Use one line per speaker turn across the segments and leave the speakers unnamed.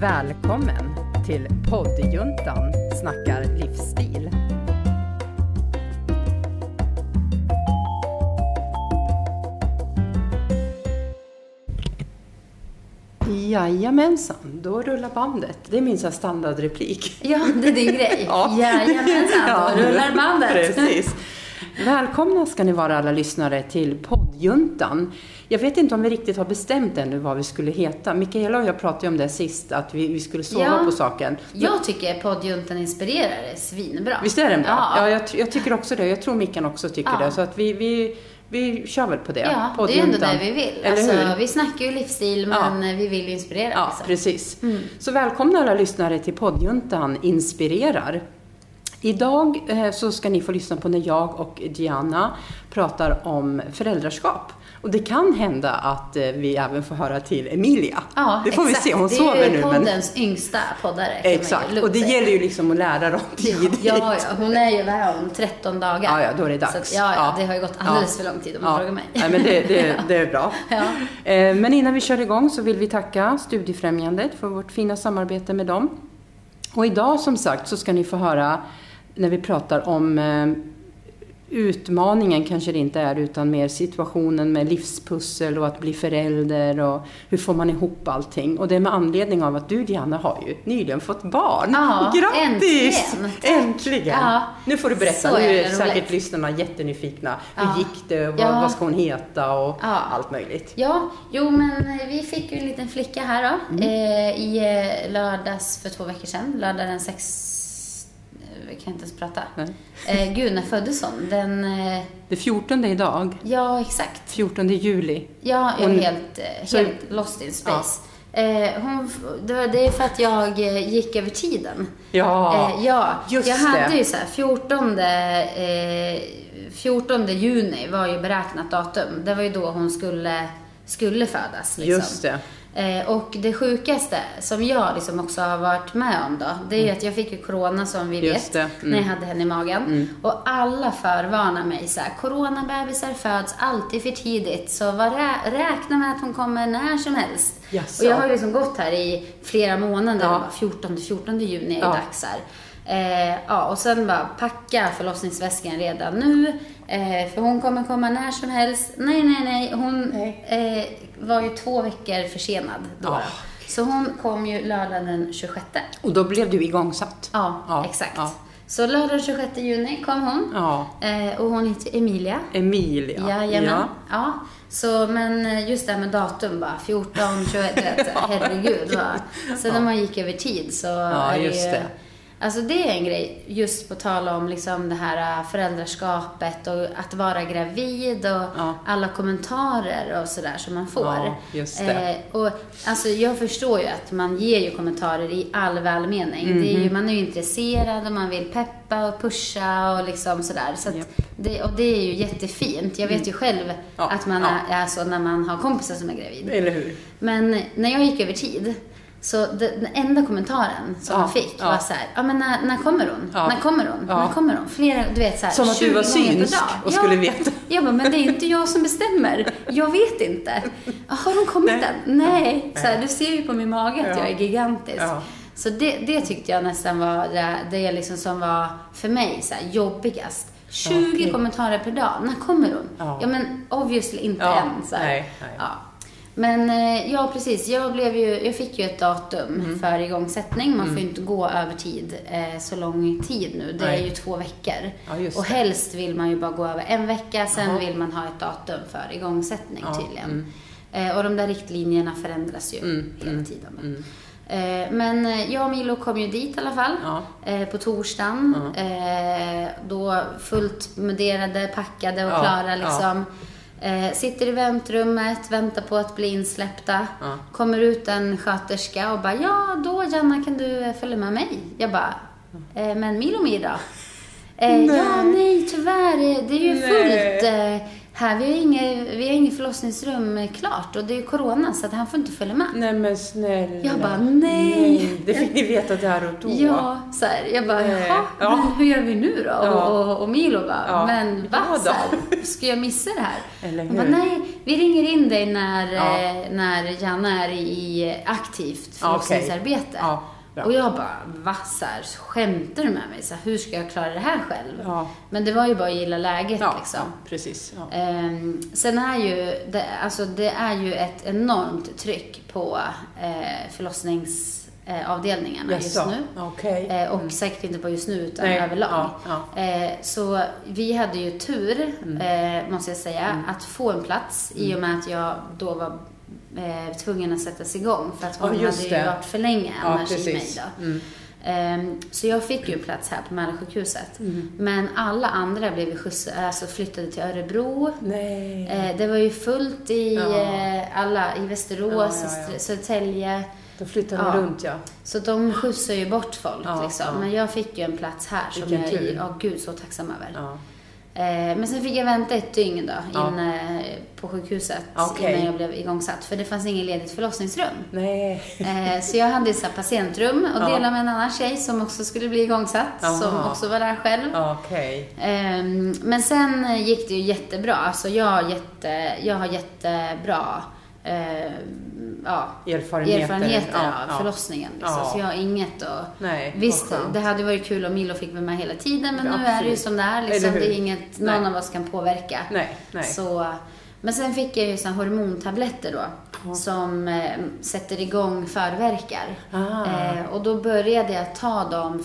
Välkommen till poddjuntan snackar livsstil. Jajamensan, då rullar bandet. Det är min så här standardreplik.
Ja, det är din grej.
Ja.
Jajamensan,
Ja.
då rullar bandet.
Precis. Välkomna ska ni vara alla lyssnare till poddjuntan. Jag vet inte om vi riktigt har bestämt ännu vad vi skulle heta. Mikaela och jag pratade ju om det sist, att vi, vi skulle sova
Ja.
på saken.
Jag tycker poddjuntan inspirerar är svinbra.
Visst är den bra? Ja,
Ja,
jag, ty- jag tycker också det. Jag tror Mickan också tycker
Ja.
det. Så att vi, vi, vi kör väl på det.
ja. det är ju ändå
Poddjuntan.
det vi vill.
Eller hur?
Alltså, vi snackar ju livsstil,
Ja.
men vi vill ju inspirera.
Ja,
alltså.
precis. Så välkomna alla lyssnare till poddjuntan Inspirerar. Idag eh, så ska ni få lyssna på när jag och Diana pratar om föräldraskap. Och det kan hända att eh, vi även får höra till Emilia.
Ja,
det får
exakt.
vi se, hon sover
Det
nu.
är ju
Men...
poddens yngsta poddare. kan man ju
Exakt,
lugnt
och det
säga.
gäller ju liksom att lära dem tidigt.
Ja, ja, hon är ju där om 13 dagar.
Ja, ja, då är det dags.
Så att, ja, ja,
Ja.
det har ju gått
Ja.
alldeles för lång tid om du frågar mig.
Nej, men det, det, det är bra.
Ja.
Eh, Men innan vi kör igång så vill vi tacka Studiefrämjandet för vårt fina samarbete med dem. Och idag som sagt så ska ni få höra när vi pratar om eh, utmaningen kanske det inte är utan mer situationen med livspussel och att bli förälder och hur får man ihop allting. Och det är med anledning av att du Diana har ju nyligen fått barn.
Ja,
Grattis!
äntligen. Tack.
Äntligen!
Ja.
Nu får du berätta,
Så
nu är
jävla roligt.
säkert lyssnarna jättenyfikna. Hur
Ja.
gick det? Vad,
Ja.
vad ska hon heta? Och
Ja.
allt möjligt.
Ja, jo men eh, vi fick ju en liten flicka här då.
Mm.
Eh, I eh, lördags för två veckor sedan. Lördag den sex... eh, Jag kan inte ens prata.
Nej.
Eh, gud, när föddes hon? Den... Eh,
Det 14 idag,
ja, exakt.
14 juli.
Ja, jag
Hon-
är helt, eh,
så-
helt lost in space. Eh, hon, det var- det är för att jag eh, gick över tiden.
Ja,
Eh, ja,
just
jag hade
det.
ju så här 14, eh, 14 juni var ju beräknat datum. Det var ju då hon skulle, skulle födas. Liksom.
Just det.
Eh, och det sjukaste som jag liksom också har varit med om då, det är ju att jag fick ju corona som vi
Mm. Just
vet,
det. Mm.
när jag hade henne i magen. Och alla förvarnar mig så här, coronabebisar föds alltid för tidigt, så var rä- räkna med att hon kommer när som helst.
Jaså.
Och jag har ju liksom gått här i flera månader,
Ja.
och bara 14, 14 juni är
Ja.
ja. dags här. Eh, ja, och sen bara packa förlossningsväskan redan nu, eh, för hon kommer komma när som helst. Nej, nej, nej, hon
Nej.
Eh, var ju två veckor försenad då.
Ah,
så hon kom ju lördagen den 26.
Och då blev du igångsatt.
Ja,
Ja,
exakt.
ja.
Så lördagen den 26 juni kom hon.
Ja.
Eh, och hon heter Emilia.
Emilia.
Jajamän.
Ja.
Ja. Så, men eh, just det här med datum bara, 14, 21, du vet, herregud. Va? Så när man gick över tid så
Ja,
är
just
ju,
det.
Alltså det är en grej, just på tal om liksom det här eh, föräldraskapet och att vara gravid och
Ja.
alla kommentarer och sådär som man får.
Ja, just det.
Eh, och, alltså, jag förstår ju att man ger ju kommentarer i all välmening. Det
Mhm.
är ju, man är ju intresserad och man vill peppa och pusha och liksom sådär. Så att
Japp. Mm.
det, och det är ju jättefint. Jag vet ju själv
Ja,
att man
ja.
är, är så när man har kompisar som är gravid.
Eller hur?
Men när jag gick över tid, så det, den enda kommentaren som
Ja,
man fick
ja.
var så här, ja men när, när kommer hon?
Ja.
När kommer hon?
Ja.
När kommer hon? Flera, du vet så här,
Som att du
20
var
gånger per
synsk
Eh, dag.
och skulle veta.
Jag bara, men det är inte jag som bestämmer. Jag vet inte. Har hon kommit
Nej.
än? Nej. Så här, du ser ju på min mage
Ja.
att jag är gigantisk.
Ja.
Så det, det tyckte jag nästan var det, det liksom som var för mig så här, jobbigast. 20
okej.
kommentarer per dag. När kommer hon?
Ja.
Ja, men obviously inte
Ja,
än. Så här.
nej, nej.
Ja. Men eh, ja, precis. Jag, blev ju, jag fick ju ett datum
Mm.
för igångsättning. Man får ju inte gå över tid eh, så lång tid nu. Det
Nej.
är ju två veckor.
Ja, just
och
det.
helst vill man ju bara gå över en vecka, sen
Jaha.
vill man ha ett datum för igångsättning
Ja, mm.
tydligen. Eh, och de där riktlinjerna förändras ju hela tiden.
mm.
Eh, Men eh, jag och Milo kom ju dit i alla fall
Ja.
eh, på torsdagen. Eh, Då fullt munderade, packade och
Ja, ja.
klara liksom. Eh, Sitter i väntrummet, väntar på att bli insläppta.
Ja.
Kommer ut en sköterska och bara “Ja, då Janna kan du eh, följa med mig?” Jag bara eh, “Men Milomir då?” eh, “Ja, nej tyvärr, eh, det är ju
Nej.
fullt eh, Här, vi har inget, vi har inget förlossningsrum klart och det är ju corona så att han får inte följa med.
Nej men snälla.
Jag bara, nej.
Det fick ni veta där och då.
Ja, så här, jag bara,
Nej.
jaha,
Ja.
men hur gör vi nu då?
Ja.
Och, och, och Milo bara,
Ja.
men va?
Ja då.
Så här, ska jag missa det här?
Eller
Han bara,
hur?
nej, vi ringer in dig när,
Ja.
eh, när Janna är i aktivt
Ja, okej.
förlossningsarbete.
Ja, bra.
och jag bara, va? Så här, skämtar du med mig? Så här, hur ska jag klara det här själv?
Ja.
Men det var ju bara att gilla läget
ja,
liksom.
ja, precis. Ja.
Ehm, sen är ju det, alltså det är ju ett enormt tryck på eh, förlossningsavdelningarna just
Jaså,
nu.
Okej.
Eh, och säkert inte bara just nu utan
Mm. Nej,
överlag.
ja,
Eh, så vi hade ju tur,
Mm.
eh, måste jag säga, att få en plats i och med att jag då var eh, tvungen att sättas igång för att
Ja,
hon hade
just
ju
det.
varit för länge
Ja,
annars i mig
precis. Mm.
då. Ehm, Så jag fick ju en plats här på Mälarsjukhuset. Men alla andra blev ju skjuts, alltså flyttade till Örebro.
Nej.
Eh, Det var ju fullt i
Mm. Ja.
eh, alla, i Västerås,
Ja, ja, ja.
Södertälje.
Då flyttar
ja.
de runt ja.
Så de skjutsar ju bort folk
Ja,
liksom.
ja.
Men jag fick ju en plats här som
Vilken
jag
tur.
är ja, gud, så tacksam över.
ja.
Eh, Men sen fick jag vänta ett dygn då,
Ja.
inne på sjukhuset
Okej.
innan jag blev igångsatt. För det fanns inget ledigt förlossningsrum.
Nej.
Eh, Så jag hade ett så här patientrum och
Ja.
delade med en annan tjej som också skulle bli igångsatt,
Jaha.
som också var där själv.
Okej.
Ehm, Men sen gick det ju jättebra. Alltså jag, har jätte, jag har jättebra eh, ja,
Erfarenheter.
erfarenheter
Ja,
av
ja.
förlossningen. Liksom.
Ja.
Så jag har inget att...
Nej, vad
Visst,
skönt.
det hade varit kul om Milo fick vara med hela tiden, men
Ja,
nu är det ju
absolut.
som det är. Liksom.
Eller hur?
Det är inget någon
Nej.
av oss kan påverka.
Nej, nej.
Så, men sen fick jag ju såna hormontabletter då, som eh, sätter igång förvärkar.
Ah.
Eh, och då började jag ta dem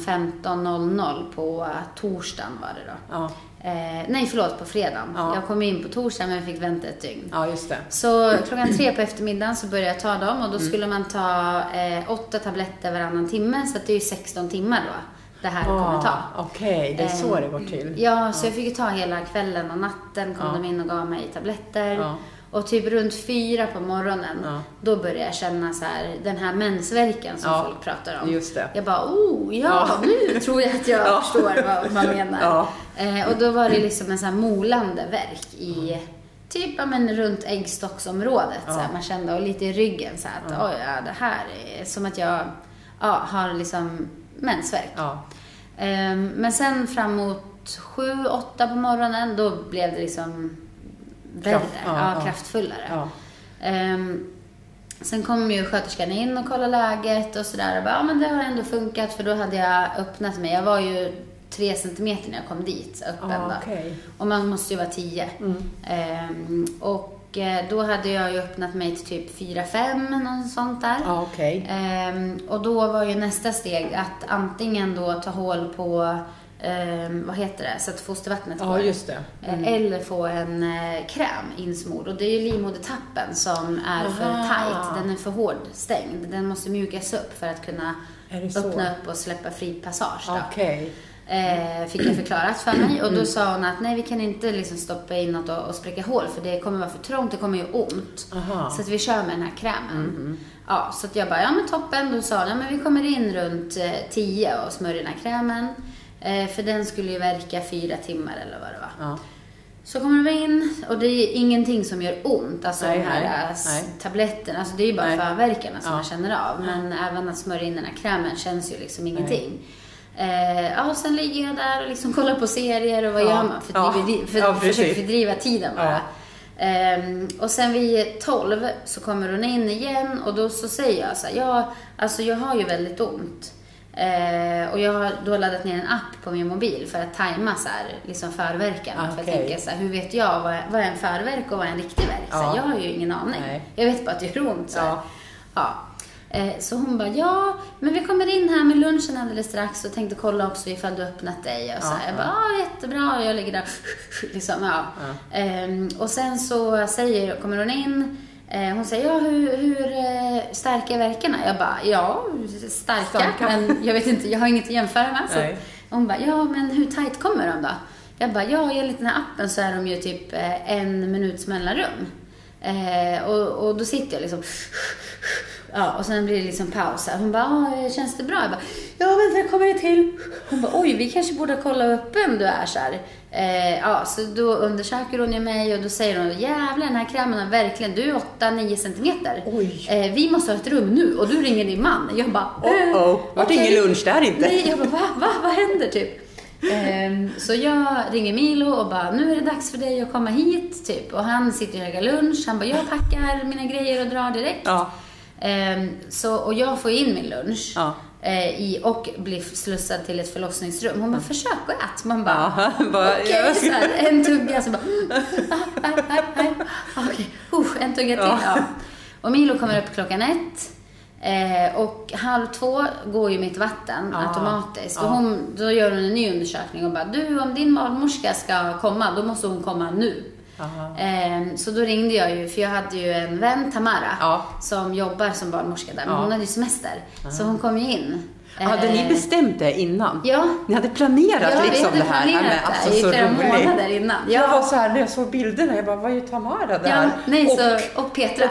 15.00 på torsdagen var det då.
Ja.
Eh, nej, förlåt, på fredagen.
Ja.
Jag kom in på torsdagen men fick vänta ett dygn.
ja, just det.
Så klockan tre på eftermiddagen så började jag ta dem och
Mm.
då skulle man ta eh, åtta tabletter varannan timme så att det är ju 16 timmar då det här kommer ta. Eh,
Ah, Okej, det är så det går till.
Ja, så jag fick ju ta hela kvällen och natten kom
Ja.
de in och gav mig tabletter.
Ja.
Och typ runt fyra på morgonen,
Ja.
då började jag känna så här, den här mensvärken som
Ja,
folk pratar om.
just det.
Jag bara, oh, ja,
Ja.
nu tror jag att jag
Ja.
förstår vad man menar.
Ja.
Eh, och då var det liksom en så här molande värk i typ ja, men runt äggstocksområdet. Så här, man kände, och lite i ryggen så här, att oj, ja, det här är som att jag ja, har liksom mensvärk.
Ja.
Ehm, Men sen framåt sju, åtta på morgonen, då blev det liksom värre,
Kraft- ja,
ja,
ja.
kraftfullare.
Ja.
Ehm, sen kom ju sköterskan in och kollade läget och sådär. Och bara, ja men det har ändå funkat för då hade jag öppnat mig. Jag var ju tre centimeter när jag kom dit, öppen
Ja,
då.
Ah, okej. Mm.
Och man måste ju vara tio. Ehm, och eh, då hade jag ju öppnat mig till typ fyra, fem, något sånt där.
Ja, Ah, okej.
Ehm, och då var ju nästa steg att antingen då ta hål på, ehm, vad heter det, så att fostervattnet
Ja,
går.
just det.
Eh, Eller få en eh, kräm insmord. Och det är ju livmodertappen som är
Aha.
för tight. Den är för hård stängd. Den måste mjukas upp för att kunna
Är det så?
öppna upp och släppa fri passage. Då.
Okej.
Eh, fick jag förklarat för mig.
Mm.
Och då sa hon att nej, vi kan inte liksom stoppa in något och, och spräcka hål för det kommer vara för trångt. Det kommer ju ont.
Aha.
Så att vi kör med den här krämen.
Mm.
Ja, så att jag bara, ja men toppen. Då sa hon, ja men vi kommer in runt eh, 10 och smörjer den här krämen. Eh, för den skulle ju verka fyra timmar eller vad det var.
Ja.
Så kommer vi in och det är ingenting som gör ont, alltså
Nej,
de här
nej,
eh, s-
nej.
tabletterna. Alltså det är ju bara
Nej.
förvärkarna som
Ja.
man känner av. Men även att smörja in den här krämen känns ju liksom ingenting. Eh, ja, och sen ligger jag där och liksom kollar på serier och vad
Ja.
gör man? För,
Ja.
att vi, för,
Ja, precis.
försöker fördriva tiden bara.
Ja.
Ehm, och sen vid 12 så kommer hon in igen och då så säger jag så här, ja, alltså jag har ju väldigt ont. Eh, och jag har då laddat ner en app på min mobil för att tajma så här, liksom förverkarna. För
Okej.
jag tänker så här, hur vet jag vad, vad är en förverk och vad är en riktig verk? Så
Ja.
här, jag har ju ingen aning.
Nej.
Jag vet bara att det gör ont. Så, här.
Ja.
Ja. Eh, så hon bara, ja, men vi kommer in här med lunchen alldeles strax och tänkte kolla också ifall du öppnat dig. Och så här.
Ja,
jag bara, ja, jättebra. Och jag ligger där, liksom, ja. Ehm, och sen så säger, kommer hon in, eh, hon säger, ja, hur, hur eh, starka är verkarna? Jag bara, ja, starka,
Starka.
men jag vet inte, jag har inget att jämföra med.
Nej.
Så hon bara, ja, men hur tight kommer de då? Jag bara, ja, enligt den här appen så är de ju typ eh, en minuts mellanrum. Eh, och, och då sitter jag liksom Ja, och sen blir det liksom paus. här. Hon bara, "Ah, känns det bra? Jag bara, ja vänta, det kommer det till. Hon bara, oj, vi kanske borde kolla upp vem du är så här. Eh, ja, så då undersöker hon ju mig och då säger hon, jävlar den här krämen har verkligen, du är 8-9 centimeter.
Oj.
Eh, vi måste ha ett rum nu och du ringer din man. Jag bara, eh,
Oh, oh. Vart
okej.
ingen lunch där inte.
Nej, jag bara, va, va, vad händer typ? Ehm, så jag ringer Milo och bara, nu är det dags för dig att komma hit, typ. Och han sitter och käkar lunch. Han bara, jag packar mina grejer och drar direkt.
Ja.
Ehm, så, och jag får in min lunch.
Ja.
eh, I, och blir slussad till ett förlossningsrum. Hon bara, försök och ät. Man bara,
Ja, bara,
okej. så här, en tugga, så bara, mm, ah, ah, ah, ah. okej, uh, en tugga till.
Ja.
Ja. Och Milo kommer upp klockan ett. Eh, och halv två går ju mitt vatten
Ah,
automatiskt.
ja.
Och hon, då gör hon en ny undersökning och bara, du om din barnmorska ska komma, då måste hon komma nu.
Aha.
Eh, så då ringde jag ju, för jag hade ju en vän, Tamara,
Ja.
som jobbar som barnmorska där. Men
Ja. Ah.
hon hade ju semester, så hon kom ju in.
Hade
Eh,
ni bestämt det innan?
Ja.
Ni hade planerat
Ja, vi
liksom
hade
det här?
planerat
men
det
alltså,
i
så
flera
roligt.
månader innan.
Jag
Ja.
var så här när jag såg bilderna, jag bara, vad gör Tamara där?
Ja, nej,
och,
så, och Petra.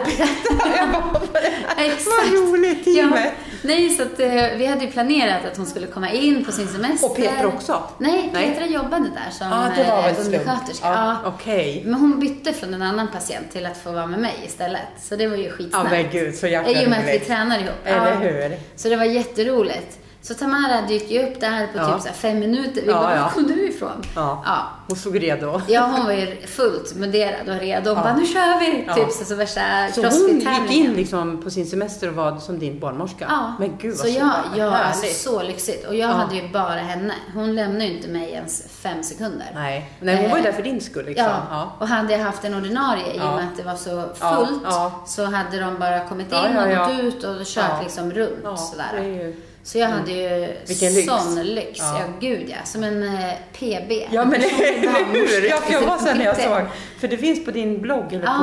jag bara, vad är det här?
Exakt.
Vad roligt teamet.
nej, så att, eh, vi hade ju planerat att hon skulle komma in på sin semester.
Och Petra också?
Nej,
Nej.
Petra jobbade där som
Ja, ah, det var
eh,
väl slump.
undersköterska.
Ja,
Ja.
Okej.
Men hon bytte från en annan patient till att få vara med mig istället. Så det var ju
Ja,
skitsnällt.
men gud, så jäkla
I och med att vi
roligt.
tränar ihop.
Eller
Ja.
hur?
Så det var jätteroligt. Så Tamara dök ju upp där på
Ja.
typ så här fem minuter. Vi
Ja,
bara,
ja.
var kom du ifrån?
Ja.
ja.
Hon såg redo.
Ja, hon var ju fullt munderad och redo. Hon
Ja.
bara, nu kör vi!
Ja.
Typ så, så värsta
Så hon
crossfit-tävlingen.
gick in liksom på sin semester och var som din barnmorska?
Ja.
Men gud vad
så jag, jag alltså,
härligt.
så lyxigt. Och jag
Ja.
hade ju bara henne. Hon lämnade ju inte mig ens fem sekunder.
Nej. Nej, hon var ju där
Eh,
för din skull liksom.
Ja.
Ja.
och hade jag haft en ordinarie i och
Ja.
med att det var så
Ja,
fullt
ja.
så hade de bara kommit in
Ja, ja, ja.
och gått ut och kört
Ja.
liksom runt
Ja, det är
sådär.
ju...
Så jag hade ju
Vilken lyx.
sån lyx.
Ja.
Ja. gud ja. Som en eh, PB.
Ja men
Personlig
eller hur!
barnmorska.
Ja, för jag var sen när jag
Inte-
såg, för det finns på din blogg eller
Ja,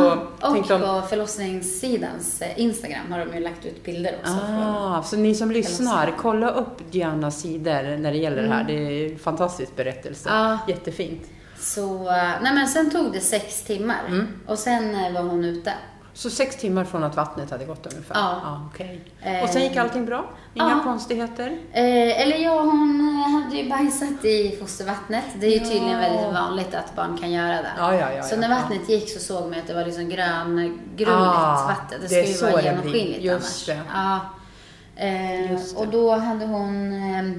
på...
och
tänkte om-
på förlossningssidans eh, Instagram har de ju lagt ut bilder också. från-
Ah, så ni som lyssnar, kolla upp Dianas sidor när det gäller
Mm.
det här. Det är en fantastisk berättelse.
Ja.
Jättefint.
Så, eh, nej men sen tog det sex timmar
Mm.
och sen eh, var hon ute.
Så sex timmar från att vattnet hade gått ungefär? Ah,
Ja.
okej.
Ah. Eh,
Och sen gick allting bra? Inga
ja.
konstigheter?
Eh, eller ja, hon eh, hade ju bajsat i fostervattnet. Det är ju
Ja.
tydligen väldigt vanligt att barn kan göra det.
Ja, ja, ja,
så
ja,
när
ja.
vattnet gick så såg man att det var liksom gröngrumligt
Ah,
vatten. Det
det är
ska ju
så
vara
det blir.
genomskinligt
Just
annars.
det.
Ja. Eh,
Just det.
Och då hade hon eh,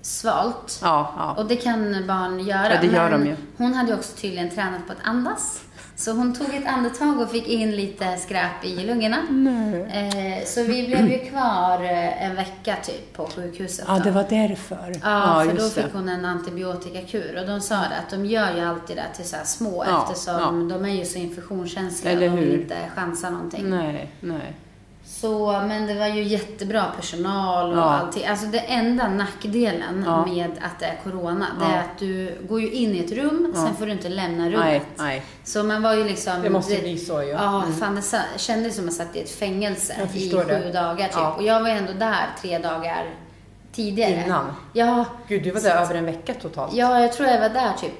svalt.
Ja, ja.
Och det kan barn göra.
Ja, det gör
men
de ju.
Hon hade ju också tydligen tränat på att andas. Så hon tog ett andetag och fick in lite skräp i lungorna.
Mm.
Eh, så vi blev ju kvar eh, en vecka typ på sjukhuset.
Ja,
då.
det var därför.
Ja, för då
just
fick
det.
hon en antibiotikakur och de sa det att de gör ju alltid det till så här små
Ja,
eftersom de är ju så infektionskänsliga
Eller
och de
hur?
vill inte chansa någonting.
Nej, nej.
Så, men det var ju jättebra personal och
Ja.
allting. Alltså det enda nackdelen
Ja.
med att det är corona, det
Ja.
är att du går ju in i ett rum,
Ja.
sen får du inte lämna rummet.
Nej, Mm. nej.
Så man var ju liksom...
Det måste bli så ju.
Ja, fan det sa- kändes som att jag satt i ett fängelse
Jag
i
förstår
sju
det.
dagar typ.
Ja.
Och jag var ju ändå där tre dagar tidigare.
Innan.
Ja,
Gud, du var där över en vecka totalt.
ja, jag tror jag var där typ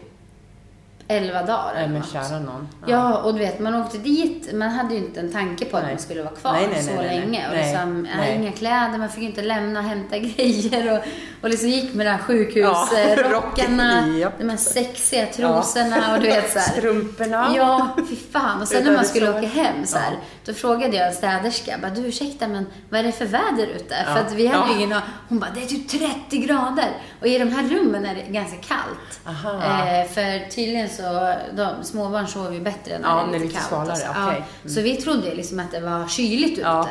elva dagar
Nej,
eller
men
något.
Äh, kära någon.
Ja, och du vet, man åkte dit, man hade ju inte en tanke på att
Nej.
man skulle vara kvar
Nej, nej,
så
nej, nej, nej.
länge. Och
Nej,
liksom, jag
nej.
hade inga kläder, man fick ju inte lämna och hämta grejer. Och, och liksom gick med de här
Ja,
sjukhusrockarna,
rocken, japp.
de här sexiga trosorna och du vet så här.
Strumporna.
Ja, fy fan. Och sen
Utan
när man skulle
resor.
åka hem så här,
Ja.
då frågade jag en städerska, bara, du ursäkta men vad är det för väder ute?
Ja.
För att vi hade
Ja.
ju ingen aning. Hon bara, det är typ 30 grader. Och i de här rummen är det ganska kallt.
Aha.
Eh, för tydligen så, de, småbarn sover ju bättre när
Ja,
det är lite kallt. och
svalare,
så.
okej. Mm.
så vi trodde ju liksom att det var kyligt ute.
Ja.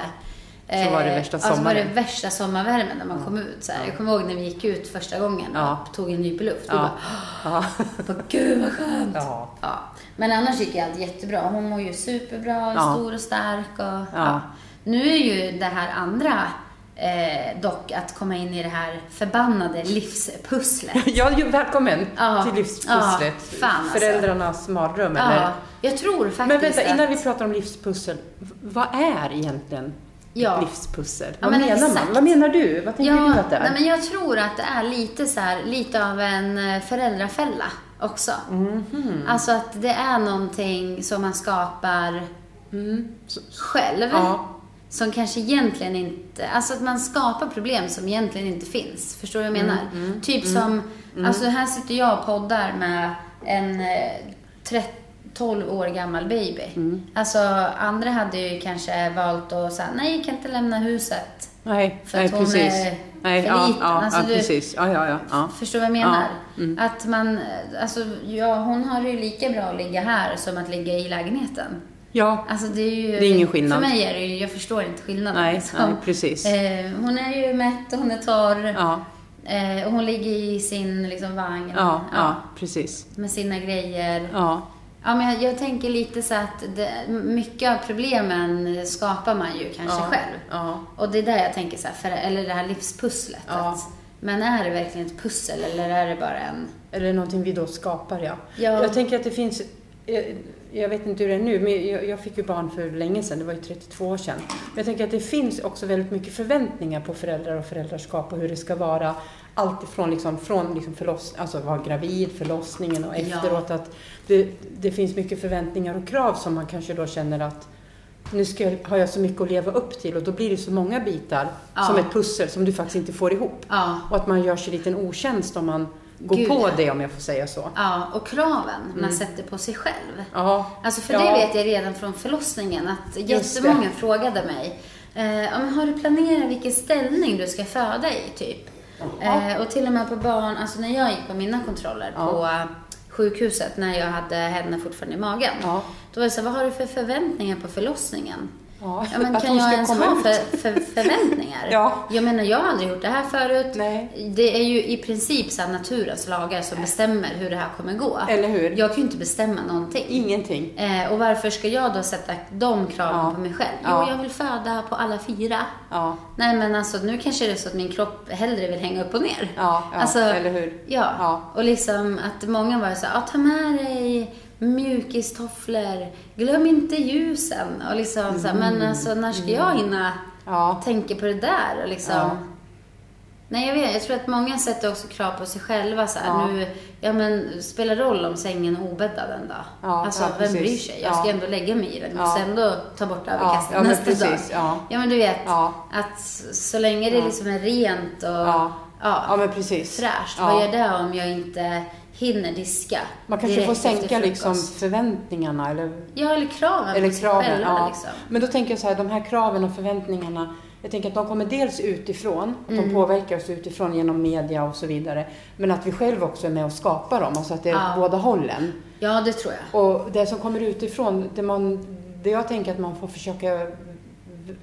Så var det
Eh,
värsta
ja, så var det
sommaren.
värsta sommarvärmen när man kom ut. Så här. Jag kommer ihåg när vi gick ut första gången
Ja.
och tog en nyp luft. Vi
Ja.
bara,
Ja.
bara, gud vad skönt.
ja.
Ja. Men annars gick ju allt jättebra. Hon mår ju superbra, och är
Ja.
stor och stark. Och, ja.
Ja.
Nu är ju det här andra eh, dock, att komma in i det här förbannade livspusslet.
Ja, ju, välkommen
Ja.
till
Ja,
livspusslet.
fan alltså.
Föräldrarnas mardröm,
Ja,
eller?
jag tror faktiskt
Men vänta,
att-
innan vi pratar om livspussel. v- Vad är egentligen
Ja.
ett livspussel?
Ja,
Vad
men
menar
exakt.
man? Vad menar du? Vad tänker
ja,
du att det är?
Nej, men jag tror att det är lite så här, lite av en eh, föräldrafälla också.
Mhm.
Alltså att det är någonting som man skapar
Mm. Så-
själv.
Ja.
som kanske egentligen inte, alltså att man skapar problem som egentligen inte finns. Förstår du vad jag
Mm,
menar? typ som, alltså här sitter jag och poddar med en eh, 30 12 år gammal baby.
Mm.
Alltså andra hade ju kanske valt att säga, nej jag kan inte lämna huset.
Nej,
För
nej
att hon
precis.
är
nej,
för
ja,
liten.
Ja,
Alltså,
ja,
du-
precis. Ja, ja, ja. ja. Mm.
Förstår vad jag menar? Att man, eh, alltså ja, hon har det ju lika bra att ligga här som att ligga i lägenheten.
ja.
Alltså det är ju...
Det är ingen skillnad.
För mig är det ju, jag förstår inte skillnaden.
Nej,
liksom.
nej, precis.
Eh, hon är ju mätt och hon är torr.
Ja,
Eh, och hon ligger i sin liksom, vagn.
ja, ja, precis.
Med sina grejer.
Ja,
Ja, men jag, jag tänker lite så att det, mycket av problemen skapar man ju kanske
Ja,
själv.
ja.
Och det är där jag tänker så här, för, eller det här livspusslet.
Ja.
Att, men är det verkligen ett pussel eller är det bara en...
Eller någonting vi då skapar, ja.
Ja.
Jag tänker att det finns, jag, jag vet inte hur det är nu, men jag, jag fick ju barn för länge sedan, det var ju 32 år sedan. Men jag tänker att det finns också väldigt mycket förväntningar på föräldrar och föräldraskap och hur det ska vara. Allt ifrån liksom, från liksom förloss, alltså vara gravid, förlossningen och
Ja.
efteråt. Att det, det finns mycket förväntningar och krav som man kanske då känner att nu ska jag, har jag så mycket att leva upp till och då blir det så många bitar
Ja.
som ett pussel som du faktiskt inte får ihop.
Ja.
Och att man gör sig en liten otjänst om man går
Gud,
på
ja.
det om jag får säga så.
Ja, och kraven man sätter på sig själv.
Ja.
Alltså för
Mm. ja.
det vet jag redan från förlossningen att
Just
jättemånga frågade mig. Eh, ja, men har du planerat vilken ställning du ska föda i typ? Eh, och till och med på barn, alltså när jag gick på mina kontroller
Ja.
på eh, sjukhuset när jag hade henne fortfarande i magen.
Ja.
Då var det så här, vad har du för förväntningar på förlossningen?
Ja,
Ja, men
att
kan
hon
jag
ska
ens
komma
ha
ut.
för, för, förväntningar?
Ja.
Jag menar, jag har aldrig gjort det här förut.
Nej.
Det är ju i princip så här naturens lagar som bestämmer hur det här kommer gå.
Eller hur?
Jag kan ju inte bestämma någonting.
Ingenting.
Eh, och varför ska jag då sätta de kraven
Ja.
på mig själv? Jo,
Ja.
jag vill föda på alla fyra.
Ja.
Nej, men alltså nu kanske det är så att min kropp hellre vill hänga upp och ner.
Ja, ja,
alltså,
eller hur?
Ja.
Ja.
och liksom att många var så här, ah, ta med dig mjukistofflor, glöm inte ljusen. Och liksom så här, men
Mm.
alltså när ska jag hinna
Ja.
tänka på det där? Och liksom,
Ja.
Nej, jag vet. Jag tror att många sätter också krav på sig själva. Så här,
Ja.
nu, ja, men spelar roll om sängen är obäddad en dag.
Ja,
alltså,
ja,
vem
precis.
bryr sig? Jag ska
Ja.
ändå lägga mig i den. Jag
Ja.
måste ändå ta bort överkastet
ja, men
nästa
precis,
dag.
ja.
men du vet.
Ja.
Att så länge det liksom är rent och
Ja.
ja,
Ja, men precis.
fräscht.
Ja.
Vad gör det om jag inte hinner diska?
Man kanske
direkt
får
efter
sänka liksom
frukost?
förväntningarna eller
Ja, eller kraven
Eller
på sig
kraven,
själva.
ja.
Liksom.
Men då tänker jag så här, de här kraven och förväntningarna, jag tänker att de kommer dels utifrån, att de påverkar oss utifrån genom media och så vidare, men att vi själva också är med och skapar dem, alltså att det är
Ja.
åt båda hållen.
Ja, det tror jag.
Och det som kommer utifrån, det, man, det jag tänker att man får försöka v-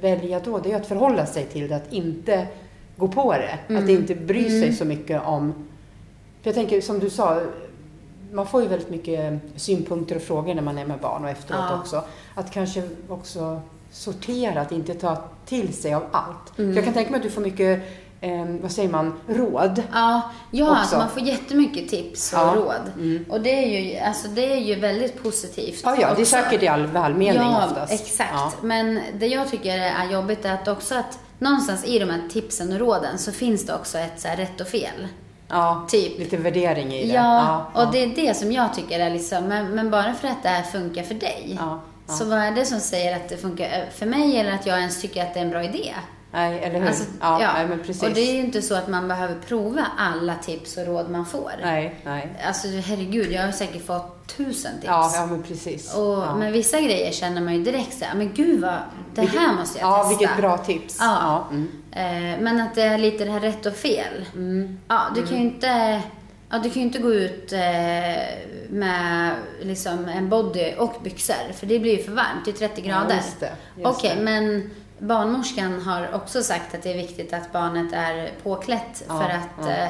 välja då, det är att förhålla sig till det, att inte gå på det,
Mm.
att inte bry sig så mycket om... För jag tänker, som du sa, man får ju väldigt mycket synpunkter och frågor när man är med barn och efteråt
Ja.
också. Att kanske också sortera, att inte ta till sig av allt.
Mm.
För jag kan tänka mig att du får mycket, eh, vad säger man, råd.
Ja, ja
också.
alltså man får jättemycket tips och
Ja,
råd. Och det är, ju, alltså det är ju väldigt positivt.
Ja, ja, det är
också.
säkert i all välmening
Ja,
oftast.
exakt.
Ja.
Men det jag tycker är jobbigt är att också att någonstans i de här tipsen och råden så finns det också ett så här rätt och fel.
Ja,
Typ.
lite värdering i det.
Ja, och det är det som jag tycker är liksom, men, men bara för att det här funkar för dig.
Ja, ja.
Så vad är det som säger att det funkar för mig eller att jag ens tycker att det är en bra idé?
Nej, eller hur?
Alltså,
ja,
ja.
Nej, men precis.
Och det är ju inte så att man behöver prova alla tips och råd man får.
Nej, nej.
Alltså herregud, jag har säkert fått tusen tips.
Ja, ja, men precis.
Och
ja.
med vissa grejer känner man ju direkt så här, men gud vad, det här måste jag
ja,
testa.
vilket bra tips.
Ja.
Ja, mm.
Eh, Men att det är lite det här rätt och fel. Ja, du kan ju
Mm.
inte Ja, du kan ju inte gå ut eh, med liksom en body och byxor, för det blir ju för varmt. Det är 30 grader.
just det, just
Okej,
det.
men barnmorskan har också sagt att det är viktigt att barnet är påklätt
Ja,
för att
ja.
eh,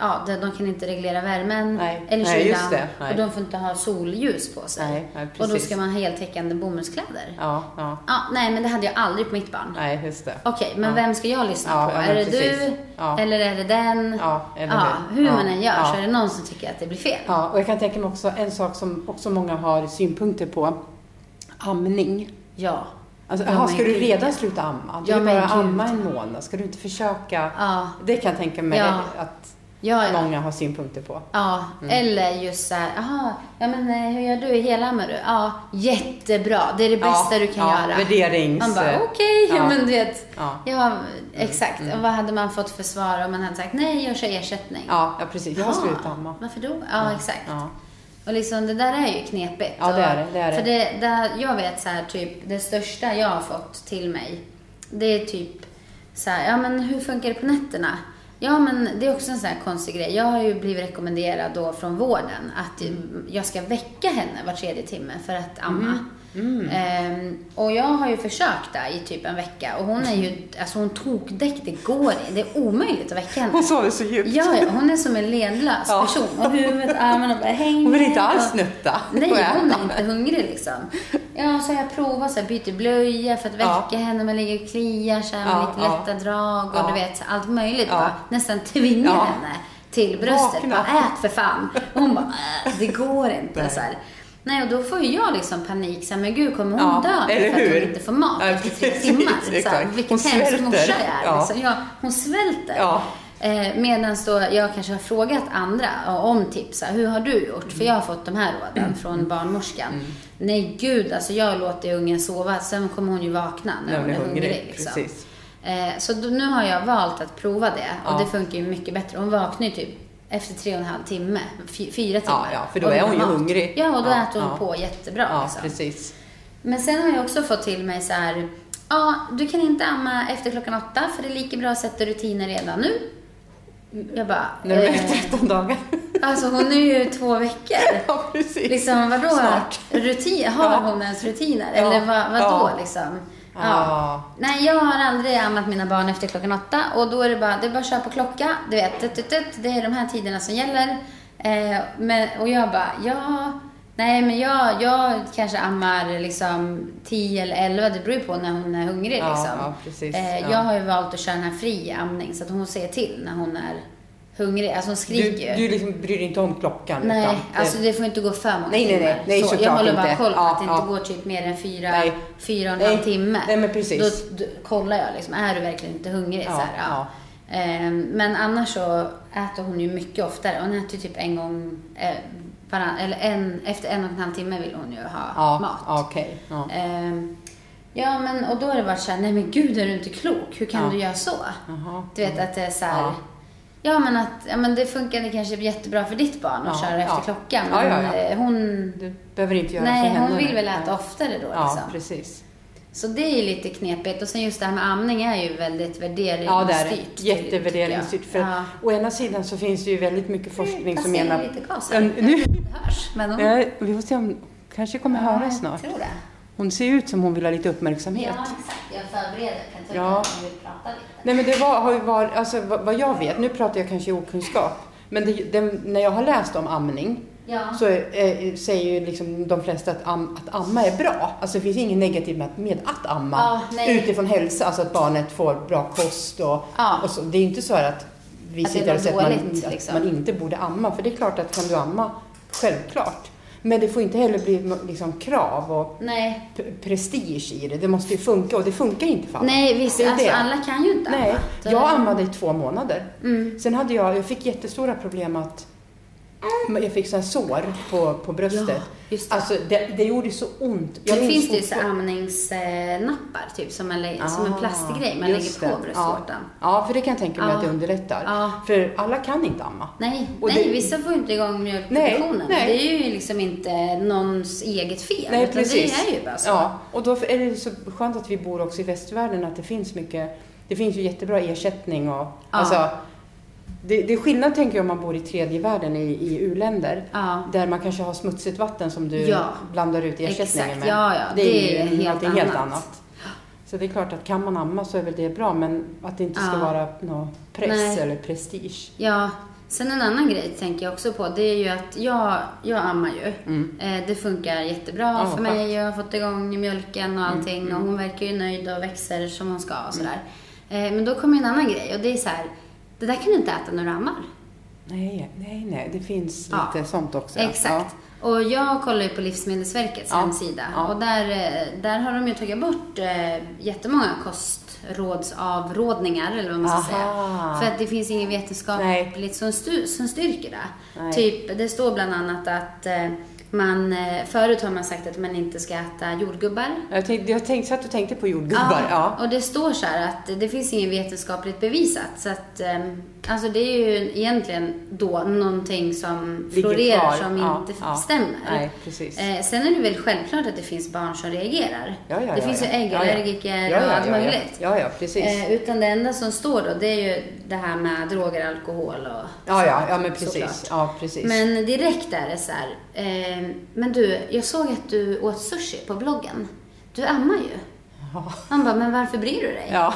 ja, de- de kan inte reglera värmen
Nej,
eller kylan.
nej, just det, nej.
Och de får inte ha solljus på sig.
Nej, nej,
och då
precis.
ska man ha heltäckande bomullskläder.
ja, ja.
Ja, nej, men det hade jag aldrig på mitt barn.
Nej, just det.
Okej, men
Ja.
vem ska jag lyssna
Ja,
på?
ja,
är det
precis.
du?
Ja.
Eller är det den?
Ja, eller hur?
hur
Ja,
man än gör
ja.
så är det någon som tycker att det blir fel.
Ja, och jag kan tänka mig också en sak som också många har synpunkter på. Amning.
Ja.
Alltså,
Ja,
aha,
men
ska du
gud.
redan sluta amma? Du
Ja,
vill
men
bara
gud.
amma en månad. Ska du inte försöka?
Ja.
Det kan jag tänka mig
Ja.
att...
Ja, ja.
många har synpunkter på.
ja.
Mm.
eller just så här, aha, ja men eh, hur gör du i hela Hammarö? Ja, jättebra. Det är det bästa
Ja,
du kan
ja,
göra.
värderings-
Man bara, oh. okej, ja.
eh, ja. Mm,
men du vet.
Ja.
Ja, exakt. Och vad hade man fått för svar om man hade sagt, nej, jag kör ersättning.
Ja, ja precis. Jag har
Jaha,
slutat amma.
Varför då? Ja, exakt.
Ja.
Och liksom, det där är ju knepigt.
Ja, det är
Och-
det, det är det.
För det, där, jag vet så här, typ, det största jag har fått till mig, det är typ så här, ja men hur funkar det på nätterna? Ja, men det är också en sån här konstig grej. Jag har ju blivit rekommenderad då från vården att ju- jag ska väcka henne var tredje timme för att
Mm.
amma. Ehm, och jag har ju försökt där i typ en vecka och hon är ju, alltså hon tokdäck, det går Det är omöjligt att väcka henne.
Hon sover så djupt.
Ja, ja, hon är som en ledlös
Ja.
person. Och huvudet, armarna bara hänger.
Hon vill inte
och-
alls snutta.
Nej,
och
hon
äta.
är inte hungrig liksom. Ja, så har jag provat så här, byter blöja för att väcka henne. Man ligger och kliar så här, med
Ja,
lite
ja.
lätta drag och
Ja.
du vet, så här, allt möjligt.
Ja.
Bara, nästan tvingar
Ja.
henne till bröstet.
Vakna.
Bara, ät för fan. Och hon bara, "Äh, det går inte. Så här. Nej, och då får ju jag liksom panik. Så här, men gud, kommer hon
Ja,
dö
eller
för att hon
hur?
inte får mat
Ja,
efter tre
precis,
timmar? Så här,
exakt.
vilken
Hon
hemsk
svälter.
morsa jag är.
Ja.
Liksom. Ja, hon svälter.
Ja.
Eh, Medan då jag kanske har frågat andra ja, om tips. så här, Hur har du gjort? För jag har fått de här råden
Mm.
från barnmorskan. Nej, gud alltså jag låter ungen sova. Sen kommer hon ju vakna när hon är hungrig. liksom.
Precis.
Eh, Så då, nu har jag valt att prova det och
Ja.
det funkar ju mycket bättre. Hon vaknar ju typ efter tre och en halv timme, fy- fyra timmar.
Ja, ja, för då
Och
är
vill
hon ju
ha mat.
hungrig.
Ja, och då
Ja,
äter hon
ja.
på jättebra.
Ja,
liksom.
precis.
Men sen har jag också fått till mig så här, ja, du kan inte amma efter klockan åtta för det är lika bra att sätta rutiner redan nu. Jag bara,
När de
eh,
är 13 dagar.
alltså hon är ju två veckor.
Ja, precis.
Liksom vadå?
Snart.
Rutin, har
Ja.
hon ens rutiner?
Ja.
Eller vad,
Ja.
vadå liksom? Ja.
Ja.
Nej, jag har aldrig ammat mina barn efter klockan åtta och då är det bara, det är bara att köra på klocka. Du vet, tut, tut, tut, det är de här tiderna som gäller. Eh, men, och jag bara, ja, nej men jag, jag kanske ammar liksom 10 eller 11, det beror ju på när hon är hungrig
Ja,
liksom.
ja, precis.
Eh,
Ja.
Jag har ju valt att köra den här fri amning så att hon säger till när hon är hungrig. Alltså hon
Du,
skriker ju.
du liksom bryr dig inte om klockan.
Nej,
utan
alltså det får inte gå för många
Nej, nej, nej.
timmar.
Nej,
så, jag
såklart
håller bara
inte.
koll på
Ja,
att det inte
ja.
går typ mer än fyra,
Nej.
fyra och en
Nej.
halv timme.
Nej, men precis.
Då, då kollar jag liksom, är du verkligen inte hungrig?
Ja,
så här, ja. Ehm, Men annars så äter hon ju mycket oftare. Hon äter ju typ en gång, eh, varann, eller en, efter en och en halv timme vill hon ju ha
ja,
mat.
Ja, okej. Ja.
Ehm, Ja, men och då har det varit såhär, nej men gud är du inte klok? Hur kan
Ja.
du göra så?
Jaha.
Du vet att det är så här, ja.
Mm. Ja.
men att ja, men det funkade kanske jättebra för ditt barn att
Ja,
köra efter
ja.
klockan.
Ja,
Men
ja, ja.
eh, hon,
Du behöver inte göra så
nej,
henne
hon vill
nu.
väl äta
Ja.
oftare då
Ja,
liksom.
precis.
Så det är ju lite knepigt. Och sen just det här med amning är ju väldigt värderingsstyrt.
Ja, det är
tycker
det.
jag.
Jättevärderingsstyrt. För
ja.
att, å ena sidan så finns det ju väldigt mycket forskning som
menar...
menar...
lite gas
Ja,
här.
nu,
Det hörs. Men hon...
nej, Eh, vi får se om... kanske kommer
Ja,
höra
jag
snart.
tror det.
Hon ser ut som hon vill ha lite
Ja,
uppmärksamhet.
exakt. Jag förbereder. Kan ta
Ja.
ut om vi vill prata lite.
Nej men det var, har ju varit, alltså vad, vad jag vet, nu pratar jag kanske i okunskap, men det, det, när jag har läst om amning
Ja.
så eh, säger ju liksom de flesta att, am, att amma är bra. Alltså det finns inget negativt med, med att amma
Ja, nej.
utifrån hälsa, alltså att barnet får bra kost och,
Ja.
och så. Det är ju inte så här att vi
Att det
sitter
var
och säger att man,
dåligt, liksom.
att man inte borde amma, för det är klart att kan du amma, självklart. Men det får inte heller bli liksom, krav och
Nej,
p- prestige i det. Det måste ju funka och det funkar inte för alla.
Nej, visst.
Det är
Alltså,
det.
alla kan ju inte
Nej,
amma. Så
jag
det-
ammade i två månader.
Mm.
Sen hade jag, jag fick jättestora problem att jag fick så här sår på, på bröstet.
just det.
Alltså det, det gjorde så ont.
Det
Jag minns
finns det ju så
fortfar-
amningsnappar, typ, som, man lä- som en
Ah,
plastgrej man lägger
just
på
det.
bröstvårtan.
Ja. ja, för det kan jag tänka mig
Ja.
att det underlättar.
Ja.
För alla kan inte amma.
Nej,
Och
nej
det-
vissa får ju inte igång mjölkproduktionen.
Nej, nej.
Det är ju liksom inte någons eget fel.
Nej,
utan
precis.
Det är ju bara så.
Ja, och då är det så skönt att vi bor också i västvärlden, att det finns mycket, det finns ju jättebra ersättning och alltså, det, det är skillnad tänker jag om man bor i tredje världen i, i u-länder.
Ja.
Där man kanske har smutsigt vatten som du
Ja.
blandar ut ersättningen
Exakt,
med.
ja, ja.
Det,
Det är
är ju
helt
någonting helt
annat.
annat. Så det är klart att kan man amma så är väl det bra, men att det inte ska
Ja.
vara någon press
Nej.
eller prestige.
Ja, sen en annan grej tänker jag också på. Det är ju att jag, jag ammar ju. Eh, Det funkar jättebra
Ja,
för
vad
mig. Jag har fått igång mjölken och allting. Och hon verkar ju nöjd och växer som hon ska och sådär. Eh, Men då kommer en annan grej och det är så här. Det där kan du inte äta när du ammar.
Nej, nej, nej. Det finns
Ja.
lite sånt också.
Exakt. Och jag kollar ju på Livsmedelsverkets
Ja,
hemsida
ja.
och där, eh, där har de ju tagit bort eh, jättemånga kostrådsavrådningar eller vad man
Aha.
ska säga. För att det finns inget vetenskapligt som, styr, som styrker det.
Nej.
Typ, det står bland annat att eh, man, eh, förut har man sagt att man inte ska äta jordgubbar.
Ja. Jag, tänkte, jag tänkte så att du tänkte på jordgubbar. Ja.
Och det står så här att det finns inget vetenskapligt bevisat. Så att, ehm, alltså det är ju egentligen då någonting som
Ligger
florerar
kvar.
som
Ja,
inte
ja.
stämmer.
Nej, precis.
Eh, sen är det väl självklart att det finns barn som reagerar.
Ja, ja,
det
ja,
finns
ja.
ju äggallergiker
ja, ja.
och allt
ja, ja,
möjligt.
Ja, ja, precis.
Eh, utan det enda som står då, det är ju det här med droger, alkohol och
ja, ja,
sånt,
ja, men
såklart.
precis. Ja, precis.
Men direkt är det så här, eh, men du, jag såg att du åt sushi på bloggen. Du ammar ju.
Ja.
Han bara, men varför bryr du dig?
Ja.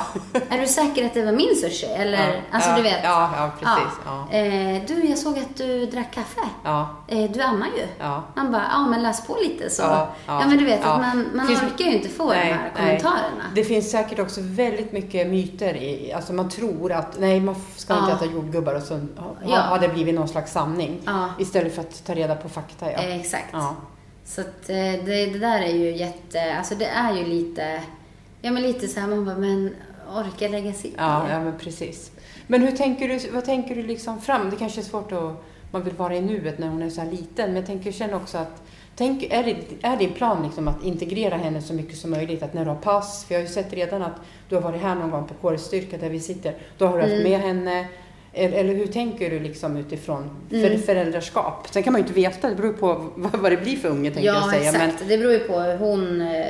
Är du säker att det var min sushi? Eller,
Ja.
alltså
Ja.
du vet.
Ja, ja, precis. Ja.
Eh, du, jag såg att du drack kaffe.
Ja,
Eh, du ammar ju.
ja.
Han bara, ja men läs på lite så.
Ja,
Ja,
ja,
men du vet
ja.
att man, man
Finns-
orkar ju inte få de här kommentarna.
Det finns säkert också väldigt mycket myter. I, alltså man tror att nej, man ska inte
Ja.
äta jordgubbar och så har,
Ja.
har det blivit någon slags sanning.
Ja.
Istället för att ta reda på fakta. Ja.
Eh, exakt.
Ja.
Så att eh, det, det där är ju jätte, alltså det är ju lite, ja men lite så här, man bara, men orkar lägga sig i?
Ja, ja, men precis. Men hur tänker du, vad tänker du liksom fram? Det kanske är svårt att man vill vara i nuet när hon är så här liten. Men jag tänker sen också att Tänk, är, det, är din plan liksom att integrera henne så mycket som möjligt? Att när du har pass, för jag har ju sett redan att du har varit här någon gång på kårstyrka där vi sitter, då har du haft
Mm.
med henne. Eller, eller hur tänker du liksom utifrån för,
Mm.
föräldraskap? Sen kan man ju inte veta, det beror på vad, vad det blir för unge tänkte jag
Ja,
säga. Men,
exakt. Det beror ju på hur hon eh,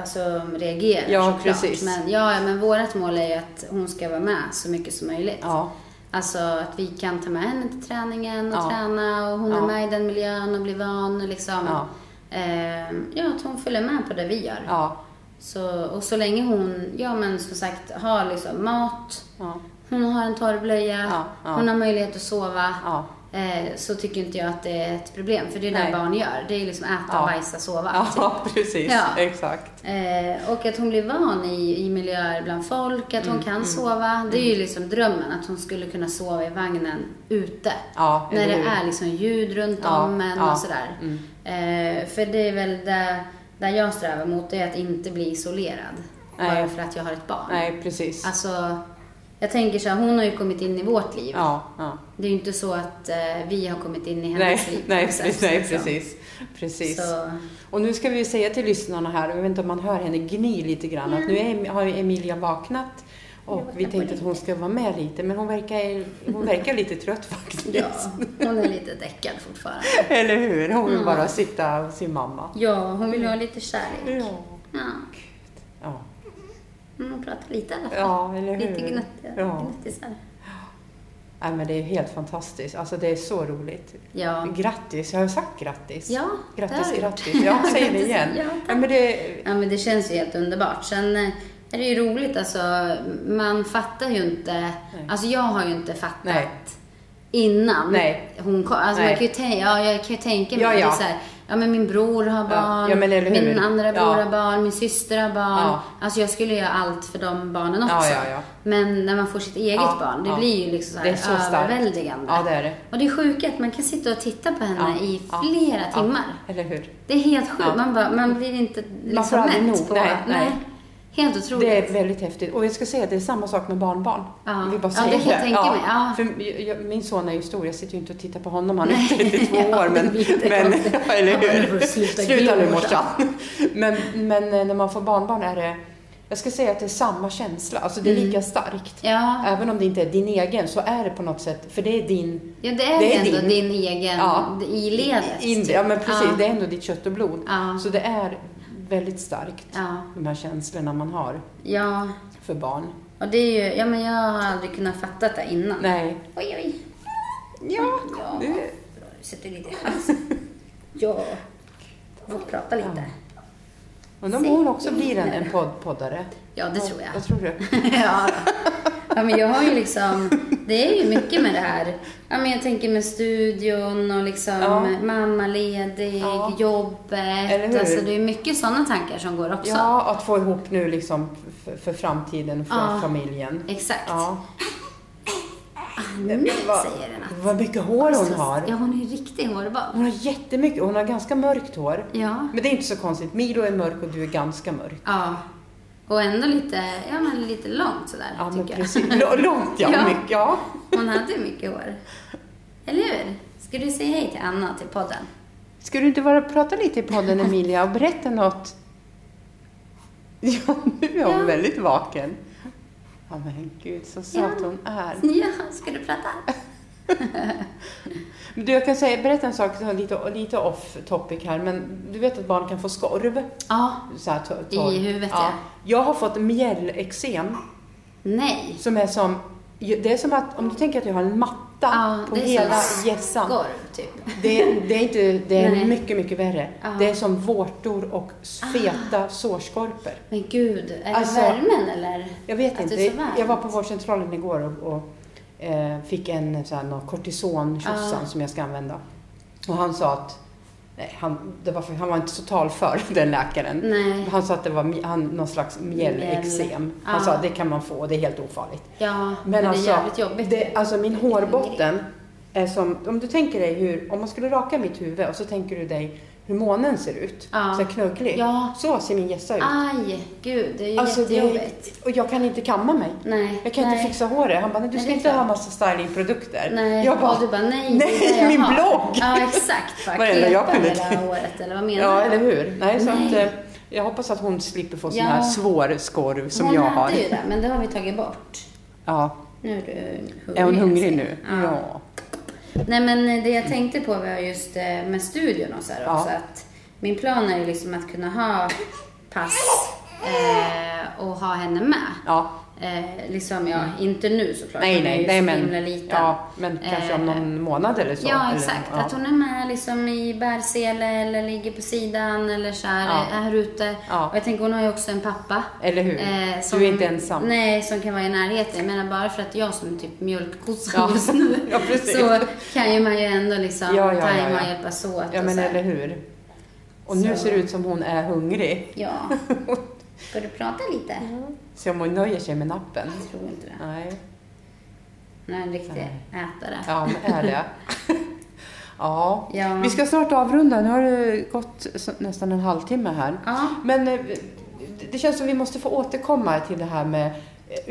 alltså, reagerar
Ja,
såklart.
precis.
Men, ja, ja, men vårt mål är ju att hon ska vara med så mycket som möjligt.
ja,
Alltså att vi kan ta med henne till träningen och
Ja.
träna och hon
Ja.
är med i den miljön och blir van. Och liksom,
Ja.
Ehm, ja, att hon följer med på det vi gör.
ja,
Så, och så länge hon, ja men som sagt, har liksom mat,
ja,
hon har en torr blöja,
Ja, ja.
hon har möjlighet att sova.
ja,
Eh, så tycker inte jag att det är ett problem, för det är
Nej.
det barn gör. Det är liksom äta,
Ja.
bajsa, sova. typ.
ja, precis,
Ja.
exakt.
Eh, och att hon blir van i, i miljöer bland folk, att
Mm,
hon kan sova. Det är ju liksom drömmen, att hon skulle kunna sova i vagnen ute.
Ja,
när
eller
det
hur? Mm.
är liksom ljud runt
Ja,
om en
ja,
och sådär. Eh, för det är väl det, där jag strävar mot, det är att inte bli isolerad.
Nej.
Bara för att jag har ett barn.
Nej, precis.
Alltså, jag tänker så här, hon har ju kommit in i vårt liv.
Ja, ja.
Det är ju inte så att eh, vi har kommit in i hennes
Nej,
liv. på
nej,
något
precis,
sätt,
nej,
liksom.
precis. precis.
Så,
Och nu ska vi säga till lyssnarna här, jag vet inte om man hör henne gny lite grann, att nu är, Em- har ju Emilia vaknat och
vaknar
vi
på
tänkte att hon ska vara med lite, men hon verkar, hon verkar lite trött faktiskt.
ja, hon är lite däckad fortfarande.
Eller hur? Hon vill
Mm.
bara sitta hos sin mamma.
Ja, hon vill ju ha lite kärlek.
Ja.
Ja,
Ja.
men hon pratar lite i alla fall.
ja, eller hur?
lite gnuttiga.
Ja.
gnuttisar.
Nej, men det är helt fantastiskt. Alltså det är så roligt.
Ja.
Grattis, jag har sagt grattis.
Ja, det har
grattis,
du gjort.
grattis. Ja, säg det igen.
Ja, tack.
men det,
ja, men det känns ju helt underbart. Sen eh, är det ju roligt alltså. Man fattar ju inte. Alltså jag har ju inte fattat
Nej.
innan
Nej.
hon kom. Alltså
Nej.
man kan ju tänka, ja, jag kan ju tänka mig
Ja, ja.
Det är så här, ja men min bror har barn,
ja, men eller hur?
min andra bror
Ja.
har barn, min syster har barn.
Ja.
Alltså jag skulle göra allt för de barnen också.
Ja, ja, ja.
Men när man får sitt eget
Ja,
barn, det
ja.
blir ju liksom så här
Det är så starkt.
överväldigande.
Ja, det är det.
Och det är sjukt att man kan sitta och titta på henne i flera
ja,
timmar.
Eller hur?
Det är helt sjukt.
Ja.
Man, bara, man blir inte liksom
får aldrig
mätt
nog.
på...
Nej, nej.
Helt otroligt.
Det är väldigt häftigt. Och jag ska säga att det är samma sak med barnbarn.
Ja.
Vi bara
Ja, det
säger
kan jag tänka mig. Ja.
För jag, jag, min son är ju stor. Jag sitter ju inte och tittar på honom. Han är 32 år. Men,
det är
men
jättekonstigt.
eller
Ja, men
hur?
får sluta
Sluta nu
glo,
morsan. men, men eh, när man får barnbarn är det... Jag ska säga att det är samma känsla. Alltså det är lika starkt.
Mm. Ja.
Även om det inte är din egen så är det på något sätt. För det är din...
Ja, det är
Det
ju
är
ändå
din-
din, egen
Ja.
i ledet.
in,
typ.
ja men precis.
Ja.
Det är ändå ditt kött och blod.
Ja.
Så det är väldigt starkt.
Ja.
De här känslorna man har
ja,
för barn.
och det är ju, ja men jag har aldrig kunnat fatta det innan.
Nej.
Oj, oj.
Ja.
Ja,
Det-
bra, du sätter lite i halsen. Ja, får prata lite.
Undrar om
Se.
hon också blir en, en podd, poddare?
Ja, det tror jag.
Vad tror du?
ja. ja, men jag har ju liksom, det är ju mycket med det här. Ja, men jag tänker med studion och liksom
Ja.
mammaledig,
Ja. Eller
jobbet.
hur?
Alltså det är mycket sådana tankar som går också.
Ja, att få ihop nu liksom för, för framtiden, för
Ja.
familjen.
Exakt.
Ja.
Nej,
Men vad-
Mm, säger den att.
Vad mycket hår hon
Ja,
har.
hon är ju riktig hårbob.
Hon har jättemycket. Hon har ganska mörkt hår.
Ja.
Men det är inte så konstigt. Milo är mörk och du är ganska mörk.
Ja. Och ändå lite, ja men lite långt sådär,
Ja, men
tycker jag.
precis. L- Långt ja.
Ja.
Mycket, ja.
Hon hade ju mycket hår. Eller hur? Ska du säga hej till Anna till podden?
Ska du inte vara prata lite i podden Emilia och berätta något? Ja, nu är hon
Ja.
väldigt vaken. Ja, men gud så söt hon är.
Ja, ska du prata?
Men du, jag kan säga, berätta en sak som är lite, lite off topic här, men du vet att barn kan få skorv?
Ja.
Så här, tor-
I
torr.
huvudet, ja.
Jag har fått mjällexem
Nej.
som är som, det är som att, om du tänker att jag har en matta
Ja,
på
det är
hela
som
hjässan.
Skorv, typ.
Det, det är, inte, det är
Nej.
mycket, mycket värre.
Ja.
Det är som vårtor och feta sårskorpor.
Men gud, är
Alltså,
det värmen eller?
Jag vet
Att det
inte.
är så varmt.
jag var på vårdcentralen igår och, och eh, fick en så här, någon kortison
Ja.
som jag ska använda. Och han sa att, nej, han, det var för, han var inte så talför den läkaren.
Nej.
Han sa att det var mi- han, någon slags mjällexem. Han
Ja.
sa att det kan man få, det är helt ofarligt.
Ja, men,
Men,
det
alltså,
är jävligt jobbigt.
Det, alltså min hårbotten är som, om du tänker dig hur, om man skulle raka mitt huvud och så tänker du dig hur månen ser ut,
Ja.
så här knugglig.
Ah. Ja. Ah.
Så ser min gässa ut.
Aj, gud, det är ju
Alltså, det är-
jättejobbigt.
och jag kan inte kamma mig.
Nej.
Jag kan
nej.
inte fixa håret. Han bara, nej, du
Nej,
ska
det är
inte ha
klart.
massa stylingprodukter.
Nej,
Jag bara,
och du bara nej,
nej,
det är det jag
min
har.
blogg.
Ja, exakt. Bara
Vad är det
klippa
jag kunde
hela
tänka?
året, eller vad menar
ja,
du?
eller hur? Nej, så
Nej.
att, eh, jag hoppas att hon slipper få sån
Ja.
här svår skorv som
Hon
jag
hade
har.
ju det, men det har vi tagit bort.
Ja.
Nu är du hungrig.
Är hon hungrig
ser jag.
nu? Ja.
Nej, men det jag tänkte på var just eh, med studion och så här
Ja.
också. Att min plan är ju liksom att kunna ha pass eh, och ha henne med.
ja.
Eh, liksom, ja, inte nu såklart.
Mm. Nej,
hon är
nej, nej
ju så
men,
himla liten.
ja, men kanske om
Eh,
någon månad eller så.
Ja,
eller,
exakt.
ja.
Att hon är med liksom i bärsele eller ligger på sidan eller så här,
Ja.
är här ute.
Ja.
Och jag tänker, hon har ju också en pappa.
Eller hur?
eh,
du är inte ensam.
Nej, som kan vara i närheten. Jag menar bara för att jag som är typ mjölkkossa
Ja.
just nu
Ja, precis.
så kan ju man ju ändå liksom
Ja, ja, ja,
tajma
ja.
och hjälpas åt.
ja,
och
men
så här.
eller hur? Och nu
Så.
ser det ut som hon är hungrig.
Ja. Ska du prata lite?
Se om hon nöjer sig med nappen.
Jag tror inte det.
Nej.
Hon är en riktig ätare.
Ja, men är det? ja.
Ja.
Vi ska snart avrunda. Nu har det gått så- nästan en halvtimme här.
Ja.
Men eh, det- det känns som vi måste få återkomma till det här med eh,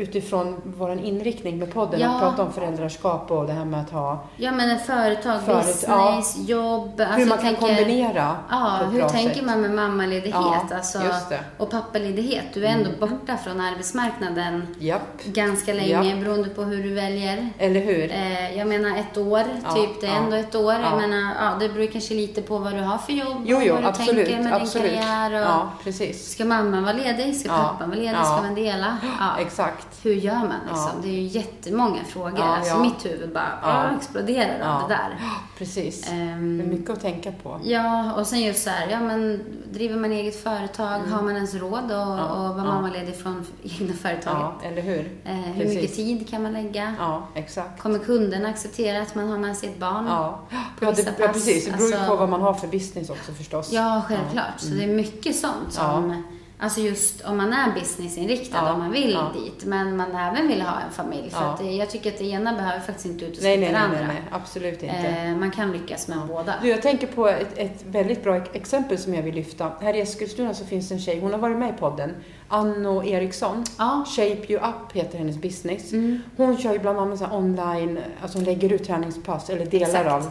utifrån vår inriktning med podden.
Ja.
Att prata om föräldraskap och det här med att ha
Ja, men en företag,
Föret-
business, jobb. Alltså,
hur
jag
man kan
tänker-
kombinera
Ja,
på ett
hur
bra
tänker
sätt.
man med mammaledighet
Ja,
alltså,
just det.
och pappaledighet? Du är ändå borta från arbetsmarknaden
Japp,
ganska länge
Ja.
beroende på hur du väljer.
eller hur?
Eh, jag menar ett år,
Ja,
typ. Det är
ja,
ändå ett år.
ja.
Jag menar, ja, det beror kanske lite på vad du har för jobb
Jo,
och
jo,
vad du
absolut.
tänker med
absolut.
din karriär. Och
Ja, precis.
Ska mamman vara ledig? Ska
Ja,
pappan vara ledig?
ja.
Ska man dela? Ja.
Exakt.
Hur gör man liksom?
Ja.
Det är ju jättemånga frågor.
Ja,
alltså,
ja.
Mitt huvud bara
Ja.
ah, exploderar av
Ja.
det där.
Precis.
Ehm,
Det är mycket att tänka på.
Ja, och sen just så här, ja men driver man eget företag, har man ens råd och, och vad
Mm. ja.
man ledig från egna företaget?
Ja, eller hur?
Eh, hur mycket tid kan man lägga?
Ja, exakt.
Kommer kunderna acceptera att man har med sig ett barn?
Ja,
på
ja, det,
vissa
ja
pass,
precis. Det beror ju
Mm. alltså-
på vad man har för business också förstås.
Ja, självklart. Så det är mycket sånt som, alltså just om man är businessinriktad,
Ja,
om man vill
ja.
dit, men man även vill ha en familj. För
Ja.
att det, jag tycker att det ena behöver faktiskt inte
Nej,
utesluta
nej,
det
nej,
andra.
nej, nej, absolut inte.
Eh, man kan lyckas med båda.
Du, jag tänker på ett, ett väldigt bra exempel som jag vill lyfta. Här i Eskilstuna så finns en tjej, hon har varit med i podden, Anno Eriksson.
Ja. Mm.
Shape You Up heter hennes business. Hon kör ju bland annat så här online, alltså hon lägger ut träningspass eller delar
Exakt.
av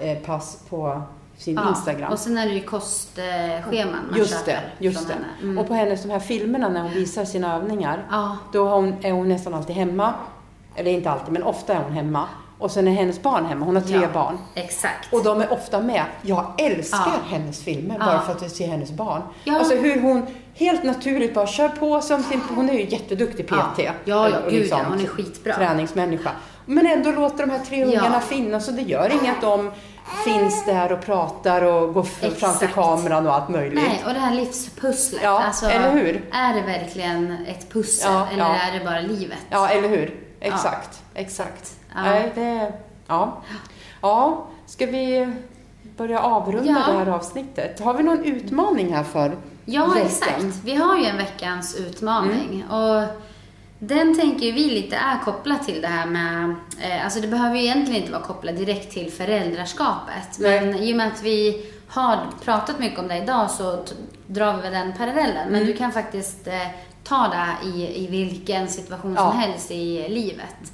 eh, pass på sin
Ja,
Instagram.
Och sen är det ju kostscheman man
Just det,
köper
just
från
det.
henne. Mm.
Och på hennes de här filmerna när hon visar sina övningar,
Ja.
då har hon, är hon nästan alltid hemma. Eller inte alltid, men ofta är hon hemma. Och sen är hennes barn hemma, hon har tre
Ja,
barn.
Exakt.
Och de är ofta med. Jag älskar
Ja.
hennes filmer
Ja.
bara för att jag ser hennes barn.
Ja.
Alltså hur hon helt naturligt bara kör på som sin... Hon är ju jätteduktig PT.
Ja. Ja, ja,
Och- och
gud, ja, hon är skitbra.
liksom Träningsmänniska. Men ändå låter de här tre ungarna
Ja.
finnas och det gör inget att de finns där och pratar och går f- framför
Exakt.
kameran och allt möjligt.
Nej, och det här livspusslet. alltså,
Ja, eller hur?
Är det verkligen ett pussel
Ja,
eller
ja.
är det bara livet?
Ja, eller hur? Exakt. Exakt.
Ja.
Nej, det... Ja. Ja, ska vi börja avrunda
Ja.
det här avsnittet? Har vi någon utmaning här för
Ja,
veckan? Mm.
exakt. Vi har ju en veckans utmaning. Och Den tänker ju vi lite är kopplad till det här med, eh, alltså det behöver ju egentligen inte vara kopplat direkt till föräldraskapet.
Nej.
Men i och med att vi har pratat mycket om det idag så t- drar vi väl den parallellen.
Mm.
Men du kan faktiskt eh, ta det i, i vilken situation
Ja.
som helst i livet.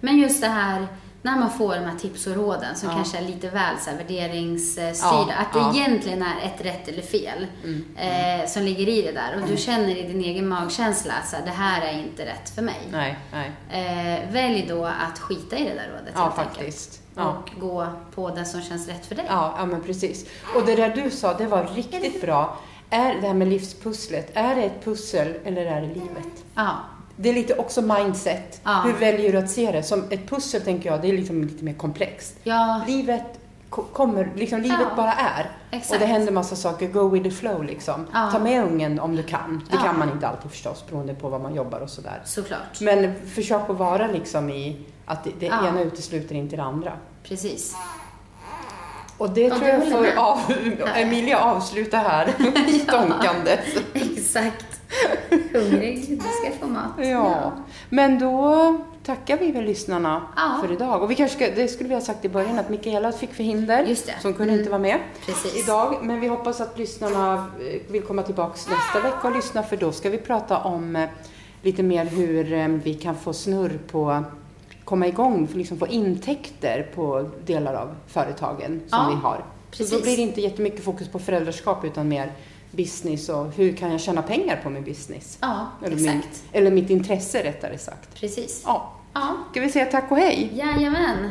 Men just det här när man får de här tips och råden som
Ja.
kanske är lite väl så här värderingsstyrda.
Ja,
Att det
ja.
egentligen är ett rätt eller fel
Mm.
eh, som ligger i det där. Och du känner i din egen magkänsla att så här, det här är inte rätt för mig.
Nej, nej.
Eh, välj då att skita i det där rådet
Ja,
helt enkelt. Mm.
faktiskt. Ja.
Och gå på det som känns rätt för dig.
Ja, ja, men precis. Och det där du sa, det var riktigt bra. Är det här med livspusslet, är det ett pussel eller är det livet?
Ja.
Det är lite också mindset.
Ja.
Hur väljer du att se det? Som ett pussel tänker jag, det är liksom lite mer komplext.
ja.
Livet ko- kommer, liksom livet
Ja.
bara är.
Exakt.
Och det händer massa saker, go with the flow liksom.
Ja.
Ta med ungen om du kan. Det
Ja.
kan man inte alltid förstås beroende på vad man jobbar och sådär.
Såklart.
Men försök att vara liksom i att det, det
Ja.
ena utesluter inte det andra.
Precis.
Och det
Och
tror
du
jag
håller
får
med.
av, Emilia avsluta här, stånkande.
Exakt. Hungrig, du ska få mat.
Ja. Men då tackar vi väl lyssnarna
Ja.
för idag. Och vi kanske ska, det skulle vi ha sagt i början att Mikaela fick förhinder,
Just det.
så hon kunde
Mm.
inte vara med
Precis.
idag. Men vi hoppas att lyssnarna eh, vill komma tillbaks nästa vecka och lyssna för då ska vi prata om eh, lite mer hur eh, vi kan få snurr på komma igång, för liksom få intäkter på delar av företagen som
Ja,
vi har. Så då
precis.
blir det inte jättemycket fokus på föräldraskap utan mer business och hur kan jag tjäna pengar på min business?
Ja,
Eller, min,
exakt.
eller mitt intresse rättare sagt.
Precis.
Ja,
Ja.
ska vi säga tack och hej?
Jajamän.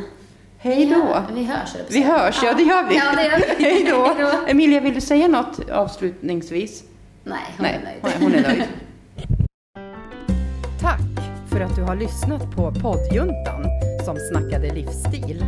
Hej
Vi
då!
hör- Vi hörs, höll jag på att
Vi
säga.
hörs, ja det gör vi.
Ja, det gör vi.
Hej då!
Hej då.
Emilia, vill du säga något avslutningsvis?
Nej, hon är
Nej,
nöjd.
hon är nöjd. Tack för att du har lyssnat på poddjuntan som snackade livsstil.